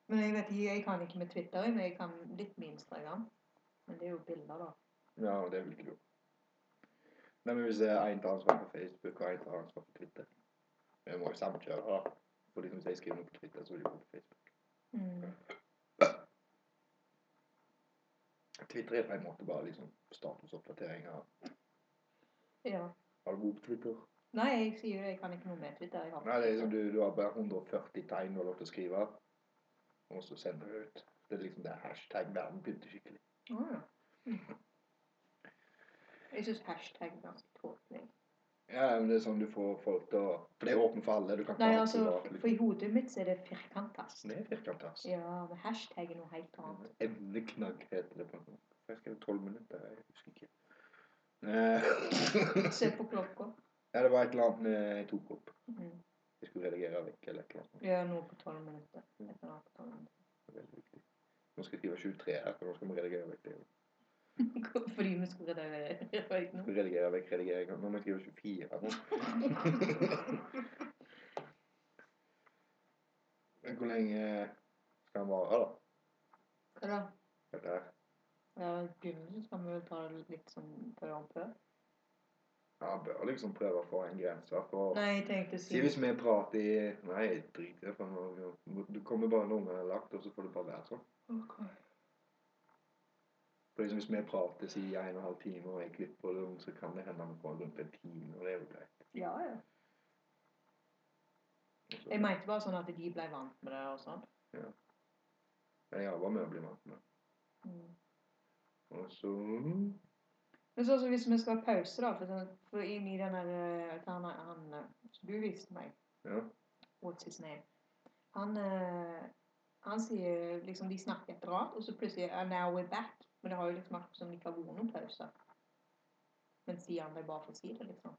[SPEAKER 1] Men jeg vet ikke, jeg kan ikke med Twitter, men jeg kan litt med Instagram. Men det er jo bilder, da.
[SPEAKER 2] Ja, det vil ikke du. Nei, men hvis det er en tar ansvar på Facebook og en tar ansvar på Twitter Vi må jo samkjøre, da. For de som sier skriver noe på Twitter, så vil de gå på Facebook.
[SPEAKER 1] Mm.
[SPEAKER 2] Twitter er på en måte bare liksom statusoppdateringer.
[SPEAKER 1] Ja.
[SPEAKER 2] Har du god på Twitter?
[SPEAKER 1] Nei, jeg sier jo det. Jeg kan ikke noe med Twitter. Jeg har
[SPEAKER 2] Nei, det er liksom, du, du har bare 140 tegn du har lov til å skrive, og så sender du det ut. Det er liksom det er hashtag verden begynte skikkelig.
[SPEAKER 1] Ah, ja. Mm. Jeg syns hashtag er ganske tåpelig.
[SPEAKER 2] Ja, men det er sånn du får folk til å For det er åpent for alle. Du kan
[SPEAKER 1] Nei,
[SPEAKER 2] ha
[SPEAKER 1] altså,
[SPEAKER 2] privat,
[SPEAKER 1] for
[SPEAKER 2] liksom.
[SPEAKER 1] i hodet mitt så er det firkantast.
[SPEAKER 2] Det er firkantas.
[SPEAKER 1] Ja, men hashtag er noe helt annet.
[SPEAKER 2] Emneknagg heter det på noe. Jeg skrev 12 minutter, jeg husker ikke. Eh,
[SPEAKER 1] Se på klokka.
[SPEAKER 2] ja, det var et eller annet eh, jeg tok opp.
[SPEAKER 1] Mm.
[SPEAKER 2] Jeg skulle redigere vekk eller et eller annet.
[SPEAKER 1] Ja, nå på tolv minutter. Jeg kan ha på 12 minutter.
[SPEAKER 2] Det er veldig viktig. Nå skal jeg skrive 23 her, for nå skal vi redigere vekk det.
[SPEAKER 1] Fordi vi skulle redde øynene.
[SPEAKER 2] Skal redigere vekk redigeringa. Nå må jeg skrive 24 her nå. Men Hvor lenge skal den vare, da?
[SPEAKER 1] Hva da?
[SPEAKER 2] Dette her.
[SPEAKER 1] Ja, i begynnelsen skal vi jo ta det litt sånn før og før.
[SPEAKER 2] Ja, jeg bør liksom prøve å få en grense. For
[SPEAKER 1] Nei, jeg tenkte å
[SPEAKER 2] si
[SPEAKER 1] si
[SPEAKER 2] hvis vi prater i Nei, drit i det. for nå- Du kommer bare når ungen er lagt, og så får det bare være sånn.
[SPEAKER 1] Ok.
[SPEAKER 2] For liksom Hvis vi prater si en og en halv time, og jeg klipper det, så kan det hende vi får rundt en time. Og det er jo greit.
[SPEAKER 1] Ja, ja.
[SPEAKER 2] Og så-
[SPEAKER 1] Jeg mente bare sånn at de ble vant med det og sånn.
[SPEAKER 2] Men jeg har bare med å bli vant med.
[SPEAKER 1] Mm.
[SPEAKER 2] Og så
[SPEAKER 1] Men sånn som hvis vi skal ha pause, da, for, sånn, for inn i den der eh, han, han eh, som du viste meg,
[SPEAKER 2] Ja.
[SPEAKER 1] what's his name, han, eh, han sier liksom De snakker etter rart, og så plutselig uh, Now we're back. Men det har jo liksom vært som det ikke har vært noen pause. Men sier han det bare for å si det, liksom?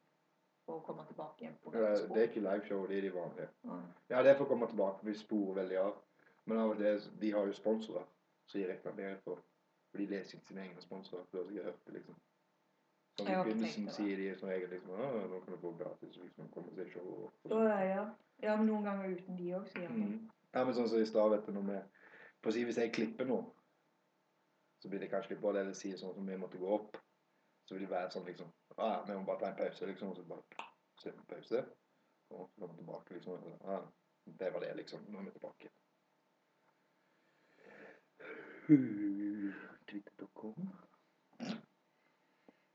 [SPEAKER 1] For å komme tilbake igjen på
[SPEAKER 2] Eh, Det er ikke liveshow, det er de vanlige.
[SPEAKER 1] Mm.
[SPEAKER 2] Ja, det får komme tilbake. Vi sporer veldig av. Men av og til, de har jo sponsorer, så de reklamerer for. For de leser ikke sine egne sponsorer. Du har sikkert hørt det, liksom. Sånn,
[SPEAKER 1] Jeg
[SPEAKER 2] I
[SPEAKER 1] har ikke
[SPEAKER 2] begynnelsen
[SPEAKER 1] tenkt på det.
[SPEAKER 2] sier de som regel liksom Å, nå kan du få gratis hvis man kommer seg show. Og,
[SPEAKER 1] Da er jeg, ja. ja, men noen ganger uten de òg, sier han.
[SPEAKER 2] Mhm. Ja, men sånn som i stad, vet du, når vi For å si hvis jeg klipper noe, så blir det kanskje litt både eller si sånn som vi måtte gå opp. Så vil det være sånn liksom Ja, ja, vi må bare ta en pause, liksom. Og så bare slipper vi pause. Og så kommer vi tilbake, liksom. Og så, ja, det var det, liksom. Nå er vi tilbake. Twitter.com.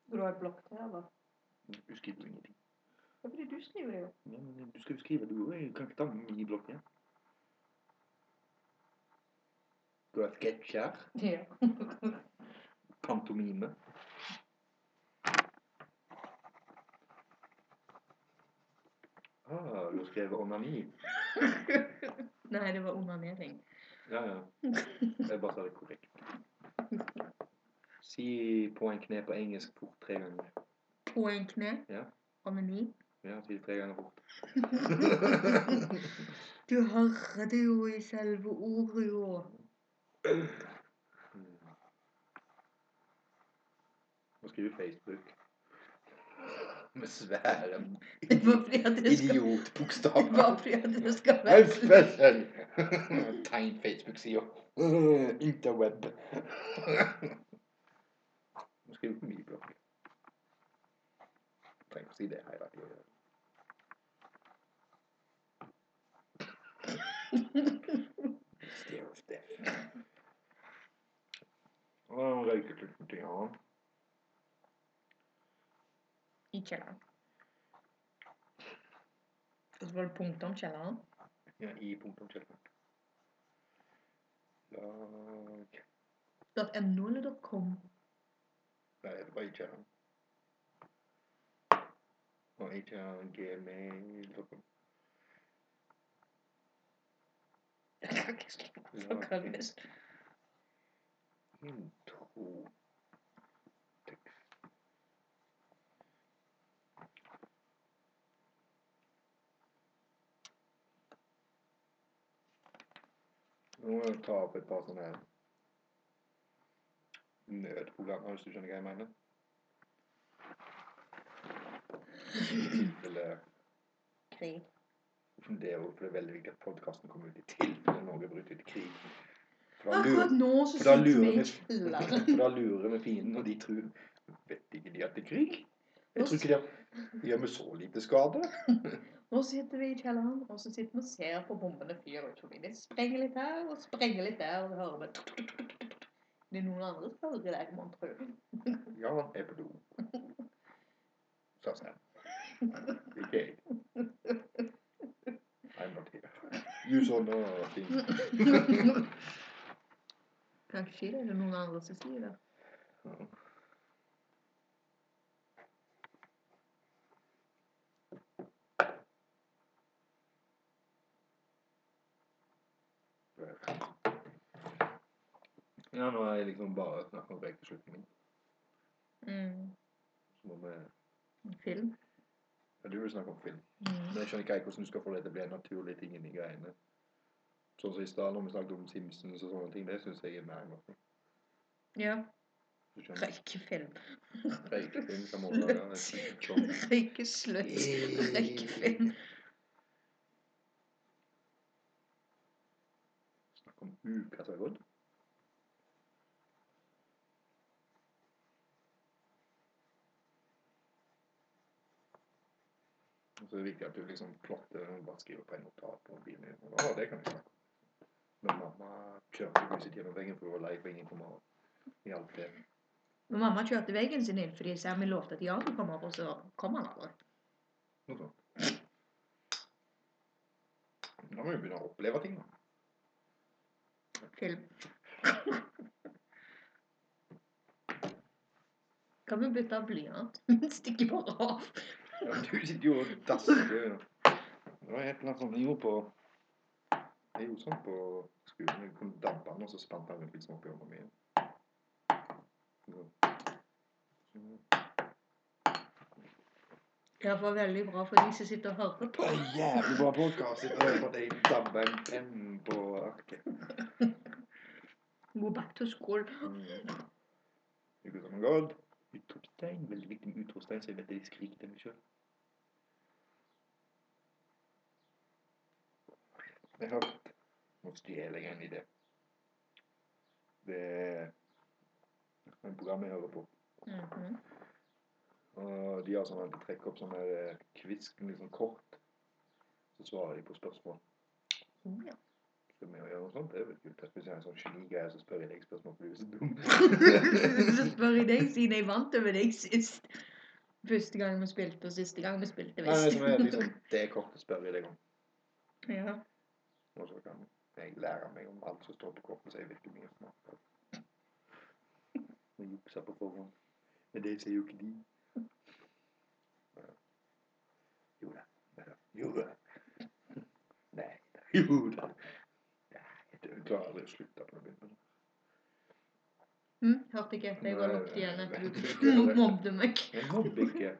[SPEAKER 1] Skal du ha et blokk til, eller?
[SPEAKER 2] Du skriver jo ingenting.
[SPEAKER 1] Det er fordi du skriver det jo.
[SPEAKER 2] Ja, men Du skal jo skrive, du òg. Jeg kan ikke ta med min blokk igjen. Du har sketsj her.
[SPEAKER 1] Ja.
[SPEAKER 2] pantomime. Ah, du har skrevet onani.
[SPEAKER 1] Nei, det var onanering.
[SPEAKER 2] Ja, ja. Jeg bare sa det korrekt. Si på en kne på engelsk fort tre ganger.
[SPEAKER 1] På en kne.
[SPEAKER 2] Ja.
[SPEAKER 1] Onani.
[SPEAKER 2] Ja, si det tre ganger fort.
[SPEAKER 1] Du hører det jo i selve ordet, jo.
[SPEAKER 2] Nå skriver Facebook. Med svære
[SPEAKER 1] Det er bare fordi at det skal, det er bare
[SPEAKER 2] idiotbokstaver.
[SPEAKER 1] fordi at det skal være slutt.
[SPEAKER 2] Helvete! Tegn Facebook-sida. Interweb. Nå skriver på mye blokk. Trenger ikke å si det her. da. Stare of death. Å, røyket litt med ting annet.
[SPEAKER 1] I kjelleren. Og så var det punktum kjelleren.
[SPEAKER 2] Ja, i punktum kjelleren. Lag
[SPEAKER 1] .no eller .com?
[SPEAKER 2] Nei, det var ikke han. Og ikke han gmail og
[SPEAKER 1] Fuckings.
[SPEAKER 2] intro. Tekst. Nå må jeg ta opp et par sånne her uh, nødprogrammer, hvis du skjønner hva jeg mener. I tilfelle
[SPEAKER 1] Krig.
[SPEAKER 2] det er jo for det er veldig viktig at podkasten kommer ut i tilfelle Norge bryter ut i krig. For da lurer
[SPEAKER 1] Akkurat nå så
[SPEAKER 2] for da
[SPEAKER 1] sitter vi
[SPEAKER 2] lurer
[SPEAKER 1] i
[SPEAKER 2] vi-
[SPEAKER 1] kjelleren.
[SPEAKER 2] For da lurer vi fienden, og de tror Vet ikke de at det er krig? Jeg tror ikke de har- de gjør meg så lite skade.
[SPEAKER 1] Nå sitter vi i kjelleren, og så sitter vi og ser på bombene fyre ut forbi. Det sprenger litt her, og sprenger litt der, og så hører vi tuk, tuk, tuk, tuk, tuk. Det er noen andre som hører det, må man tro.
[SPEAKER 2] Ja, jeg er på do. Sa Sam. Ikke jeg. I'm not here. You saw nothing.
[SPEAKER 1] Kanskje det er noen andre som sier det.
[SPEAKER 2] Ja, nå har jeg liksom bare snakket om røykeslutningen.
[SPEAKER 1] Mm.
[SPEAKER 2] Så må vi
[SPEAKER 1] Film.
[SPEAKER 2] Ja, du vil snakke om film.
[SPEAKER 1] Mm.
[SPEAKER 2] Men jeg skjønner ikke helt hvordan du skal få det til å bli en naturlig ting inni greiene. Sånn som i stad, når vi snakket om Simpsons og sånne ting, det syns jeg er mer enn godt.
[SPEAKER 1] Ja.
[SPEAKER 2] Du skjønner?
[SPEAKER 1] Røykefilm.
[SPEAKER 2] Røykefilm kan man lage. det er sikkert sånn.
[SPEAKER 1] Røykesløs. Røykefilm.
[SPEAKER 2] Snakk om uka som har gått. Og Så er det viktig at du liksom plotter og bare skriver på en notat på mobilen din. Å, det kan vi snakke om. Men mamma kjørte huset gjennom veggen for å være lei for ingen kommer og hjalp til.
[SPEAKER 1] Men mamma kjørte veggen sin inn fordi Sammy lovte at Jan kom opp, og så kom han aldri.
[SPEAKER 2] Noe sånt. Da må vi begynne å oppleve ting, da.
[SPEAKER 1] Film. Kan vi bytte av blyant? Stikker bare av.
[SPEAKER 2] Ja, du sitter jo og dasser. jo. Det var et eller annet sånt jeg gjorde på Jeg gjorde sånn på skolen. Jeg kom dabbende, og så spant jeg rundt liksom oppi hånda mi. Det
[SPEAKER 1] Det var veldig bra for de som sitter og hører på.
[SPEAKER 2] er jævlig bra podkast. Jeg hører på at jeg dabber en penn på arket.
[SPEAKER 1] Go back to school.
[SPEAKER 2] Mm. Det går som en god. Utropstegn. Veldig viktig med utropstegn, så jeg vet at de skriker til meg sjøl. Jeg har Nå stjeler jeg en idé. Det er et program jeg hører på.
[SPEAKER 1] Mhm.
[SPEAKER 2] Og de har sånn at de trekker opp sånne eh, quiz, litt sånn kort. Så svarer de på spørsmål.
[SPEAKER 1] Oh, ja.
[SPEAKER 2] Skal vi gjøre noe sånt? Det er vel kult. Hvis jeg er en sånn genigreie, så spør jeg deg spørsmål, for du er så
[SPEAKER 1] Så
[SPEAKER 2] dum.
[SPEAKER 1] spør jeg deg, siden jeg vant over deg sist. Første gang vi spilte, og siste gang vi spilte,
[SPEAKER 2] Nei,
[SPEAKER 1] visst.
[SPEAKER 2] som er liksom, det kortet spør jeg deg om.
[SPEAKER 1] ja.
[SPEAKER 2] Og så kan jeg lære meg om alt som står på kortet, så jeg vet ikke mye snart. Jeg jukser på forhånd. Men det ser jo ikke de. Ja. Jo da. Ja da. Jo da. Nei da. Jo da. Nei, jeg klarer aldri å slutte på å begynne med det.
[SPEAKER 1] Hm? Hørte ikke etter jeg var
[SPEAKER 2] Nei,
[SPEAKER 1] lukket igjen
[SPEAKER 2] nei,
[SPEAKER 1] etter
[SPEAKER 2] nei.
[SPEAKER 1] du mob- mobbde meg.
[SPEAKER 2] Jeg mobber ikke.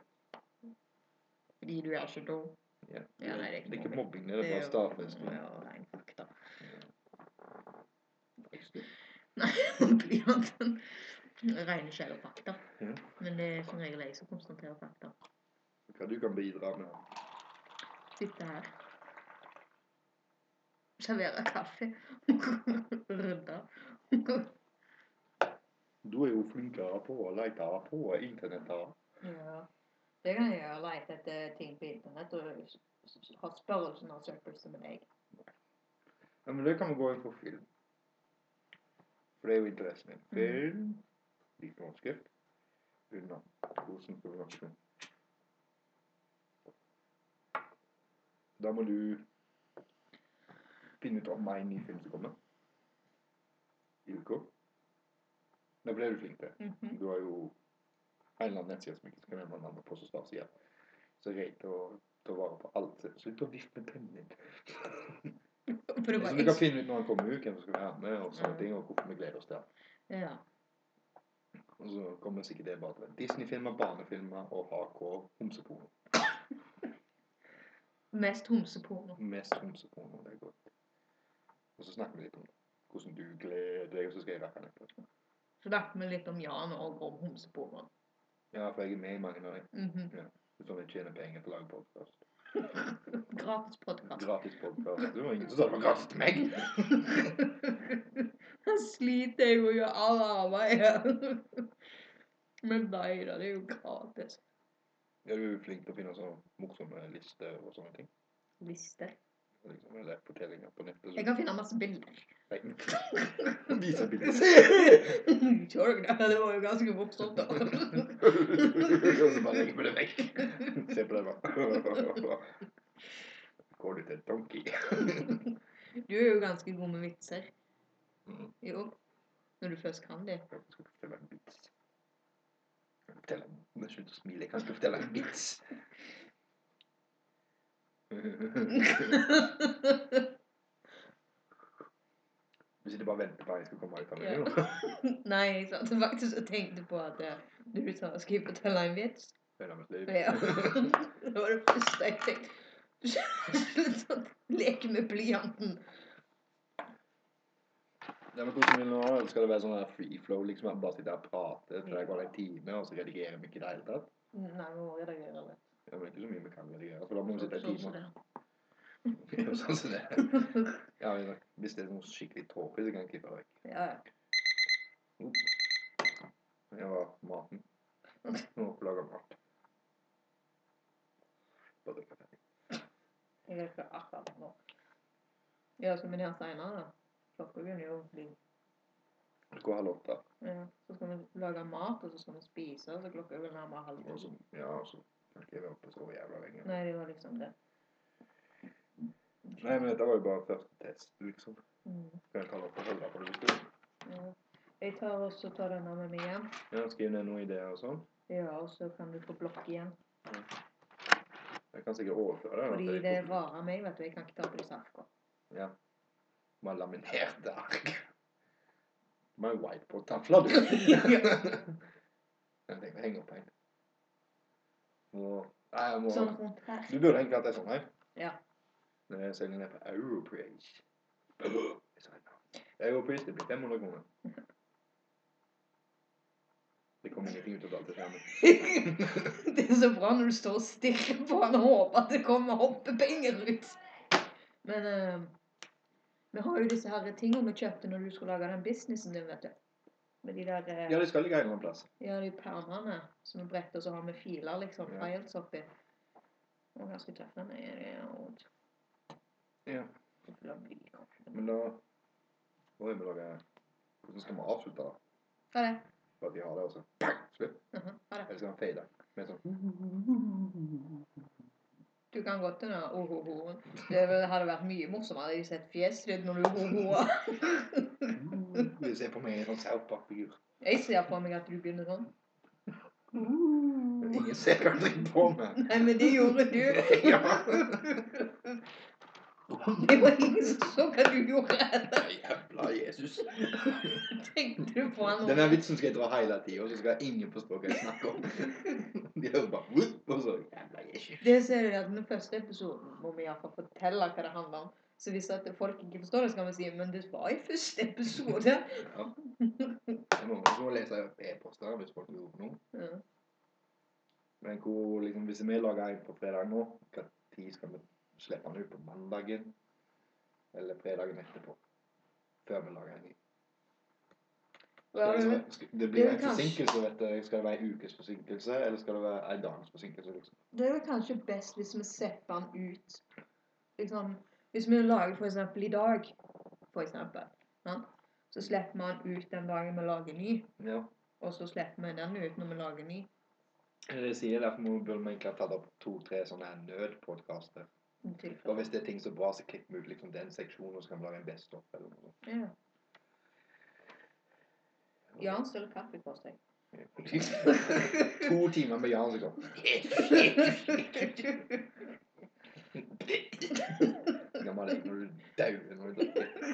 [SPEAKER 1] Fordi du er så dum.
[SPEAKER 2] Ja.
[SPEAKER 1] Ja, nei, det er ikke
[SPEAKER 2] det er ikke mobbing, det
[SPEAKER 1] Det
[SPEAKER 2] er bare
[SPEAKER 1] er jo
[SPEAKER 2] stavmønster.
[SPEAKER 1] ja, rein fakta.
[SPEAKER 2] Ja.
[SPEAKER 1] Nei, blyanten. Rene skjell og fakta.
[SPEAKER 2] Ja.
[SPEAKER 1] Men det er som regel jeg som konstaterer fakta.
[SPEAKER 2] Hva du kan bidra med.
[SPEAKER 1] Sitte her. Servere kaffe. Rydde.
[SPEAKER 2] Du er jo flinkere på å lete på internettet.
[SPEAKER 1] Ja. Det kan jeg gjøre. Lete etter ting på internett og s- s- ha størrelsen av søppel som en egg.
[SPEAKER 2] Ja, men det kan vi gå inn på film. For det er jo interessen min. Film, liten overskrift, unna kosen på produksjon. Da må du finne ut om meg ny film som kommer. I uka. Da ble du flink til.
[SPEAKER 1] Mhm.
[SPEAKER 2] Du har jo en eller annen nettside som ikke skal nevne navnet på, som står sida. Så greit å ta vare på alt. Slutt å vifte med pennen din.
[SPEAKER 1] For det
[SPEAKER 2] Så
[SPEAKER 1] var
[SPEAKER 2] du kan
[SPEAKER 1] jeg...
[SPEAKER 2] finne ut når han kommer ut, hvem som skal være med, og sånne
[SPEAKER 1] Mm.
[SPEAKER 2] ting, og hvorfor vi gleder oss til det.
[SPEAKER 1] Ja.
[SPEAKER 2] Og så kommer sikkert det bare til Disney-filmer, barnefilmer og HK homseporno.
[SPEAKER 1] Mest homseporno.
[SPEAKER 2] Mest homseporno. Det er godt. Og så snakker vi litt om det. Hvordan du gleder deg, og så skal jeg rakke ned på det.
[SPEAKER 1] Snakket vi litt om Jan og om homseporno.
[SPEAKER 2] Ja, for jeg er med i mange av dem.
[SPEAKER 1] Mhm.
[SPEAKER 2] Det er Sånn at jeg tjener penger på å lage podkast.
[SPEAKER 1] Gratis podkast.
[SPEAKER 2] Gratis podkast. Det var ingen som sa det var gratis til meg!
[SPEAKER 1] Han sliter jeg jo gjør all arbeid. Men nei da, det er jo gratis.
[SPEAKER 2] Er du flink til å finne sånne morsomme lister og sånne ting?
[SPEAKER 1] Liste.
[SPEAKER 2] Liksom, eller fortellinger på nettet?
[SPEAKER 1] Jeg kan finne masse bilder.
[SPEAKER 2] finne Vise bilder.
[SPEAKER 1] Kjør dere, det var jo ganske morsomt. da.
[SPEAKER 2] Og så bare legger vi det vekk. Se på det, bare. Går du til en donkey?
[SPEAKER 1] Du er jo ganske god med vitser.
[SPEAKER 2] Mm.
[SPEAKER 1] Jo. Når du først kan det.
[SPEAKER 2] Jeg skal fortelle en vits. Jeg forteller en- Men Slutt å smile. Jeg kan ikke fortelle en vits. Du sitter bare og venter på at jeg skal komme ut av meg.
[SPEAKER 1] Ja.
[SPEAKER 2] nå.
[SPEAKER 1] Nei, jeg satt faktisk og tenkte på at eh, du sa skal jeg fortelle en vits?
[SPEAKER 2] Det er nærmest liv.
[SPEAKER 1] Ja. Det var det første jeg tenkte. Slutt å leke med blyanten.
[SPEAKER 2] Ja, men hvordan vil du nå? Skal det være sånn her free flow, liksom? At man bare sitter og prater til det går en time, og så redigerer vi ikke i det hele tatt?
[SPEAKER 1] Nei, vi må redigere det.
[SPEAKER 2] Ja, men det er ikke så mye vi kan redigere, for da må vi sitte en
[SPEAKER 1] Sånn
[SPEAKER 2] time.
[SPEAKER 1] som det.
[SPEAKER 2] Ja, sånn som det. Ja, men hvis det er noe skikkelig tåpelig, så kan jeg klippe det vekk.
[SPEAKER 1] Ja, ja.
[SPEAKER 2] Jeg var maten. Nå lager jeg mat. Bare drikker ferdig.
[SPEAKER 1] Jeg vet ikke akkurat nå. Ja, skal vi ned senere, da? Klokka begynner jo å bli
[SPEAKER 2] Det går halv åtte.
[SPEAKER 1] ja. Så skal vi lage mat, og så skal vi spise, så klokka er vel nærmere halv
[SPEAKER 2] Og
[SPEAKER 1] ti.
[SPEAKER 2] så, ja, og så kan ikke jeg være oppe så jævla lenge.
[SPEAKER 1] Nei, det var liksom det.
[SPEAKER 2] Nei, men dette var jo bare første test, liksom.
[SPEAKER 1] Mm.
[SPEAKER 2] Kan jeg ta det opp og holde på det litt?
[SPEAKER 1] Ja. Jeg tar også tar denne med meg hjem.
[SPEAKER 2] Ja, skriv ned noen ideer og sånn.
[SPEAKER 1] Ja, og så kan du få blokk igjen.
[SPEAKER 2] Jeg kan sikkert overføre det. da,
[SPEAKER 1] Fordi
[SPEAKER 2] til de
[SPEAKER 1] det
[SPEAKER 2] to.
[SPEAKER 1] varer meg, vet du. Jeg kan ikke ta på disse arkene.
[SPEAKER 2] Ja. Med laminerte ark. Med whiteboard-tafler, du. Jeg tenkte henge opp en. Må... Nei, jeg må...
[SPEAKER 1] Sånn rundt her.
[SPEAKER 2] Du burde egentlig hatt en sånn her.
[SPEAKER 1] Ja.
[SPEAKER 2] Når jeg selger ned på Europris. Jeg sa, Jeg går på is, det blir 500 kroner. Det kom ingenting ut av dataskjermen.
[SPEAKER 1] Det er så bra når du står og stirrer på han og håper at det kommer hoppepenger ut. Men eh, vi har jo disse her tingene vi kjøpte når du skulle lage den businessen din, vet du. Med de der eh,
[SPEAKER 2] ja, det skal ligge en eller annen plass.
[SPEAKER 1] ja, de permene som er bretter, så har vi filer, liksom.
[SPEAKER 2] Ja.
[SPEAKER 1] Files oppi. Og ganske tøft. Nei, det er vondt.
[SPEAKER 2] Ja.
[SPEAKER 1] Det blir blyant.
[SPEAKER 2] Men da Nå er vi laget Hvordan skal vi avslutte, da?
[SPEAKER 1] Ha det.
[SPEAKER 2] For at vi har det, og så pang, slutt.
[SPEAKER 1] Mhm, Ha det.
[SPEAKER 2] Eller skal han fade? Med sånn
[SPEAKER 1] Du kan godt eh, denne ohohoen. Det vel- hadde vært mye morsommere hvis et fjes ditt når du ohohoer.
[SPEAKER 2] Du ser på meg i en sånn South Park-figur.
[SPEAKER 1] Jeg ser for meg at du begynner sånn. Mm.
[SPEAKER 2] Men Ingen ser hva jeg driver på med.
[SPEAKER 1] Nei, men det gjorde du.
[SPEAKER 2] Ja.
[SPEAKER 1] Det var ingen som så hva du gjorde.
[SPEAKER 2] Jævla Jesus.
[SPEAKER 1] Tenkte du på han
[SPEAKER 2] Denne vitsen skal jeg dra hele tida, så skal ingen forstå hva jeg snakker om. De hører bare «Wup», og så Jævla Jesus.
[SPEAKER 1] Det ser du at den første episoden må vi iallfall fortelle hva det handler om. Så hvis at folk ikke forstår det, så kan vi si men det var i første episode.
[SPEAKER 2] Ja. Jeg må så lese e-poster hvis folk lurer på noe.
[SPEAKER 1] Ja.
[SPEAKER 2] Men hvor, liksom, hvis vi lager en på fredag nå, hva tid skal vi slippe den ut på mandagen? Eller fredagen etterpå? Før vi lager en ny.
[SPEAKER 1] Hva har du?
[SPEAKER 2] Det blir
[SPEAKER 1] det
[SPEAKER 2] en
[SPEAKER 1] er kanskje-
[SPEAKER 2] forsinkelse, vet du. Skal det være en ukes forsinkelse, eller skal det være en dags forsinkelse? liksom?
[SPEAKER 1] Det er vel kanskje best hvis vi slipper den ut liksom, Hvis vi lager for eksempel i dag, for eksempel, sant? så slipper vi den ut den dagen vi lager ny,
[SPEAKER 2] Ja.
[SPEAKER 1] og så slipper vi den ut når vi lager ny.
[SPEAKER 2] Det jeg sier Derfor må- burde vi egentlig ha tatt opp to-tre sånne her nødpodkaster.
[SPEAKER 1] i tilfelle.
[SPEAKER 2] Og hvis det er ting som er bra, så klipper vi ut liksom den seksjonen, og så kan vi lage en best of eller noe sånt.
[SPEAKER 1] Ja. Jan stiller kaffe på seg.
[SPEAKER 2] to timer med Jan liksom. som går Gammel er når du dauer når du drikker.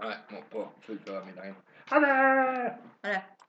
[SPEAKER 2] Nei, må på fullføre middagen. Ha det!
[SPEAKER 1] Ha det.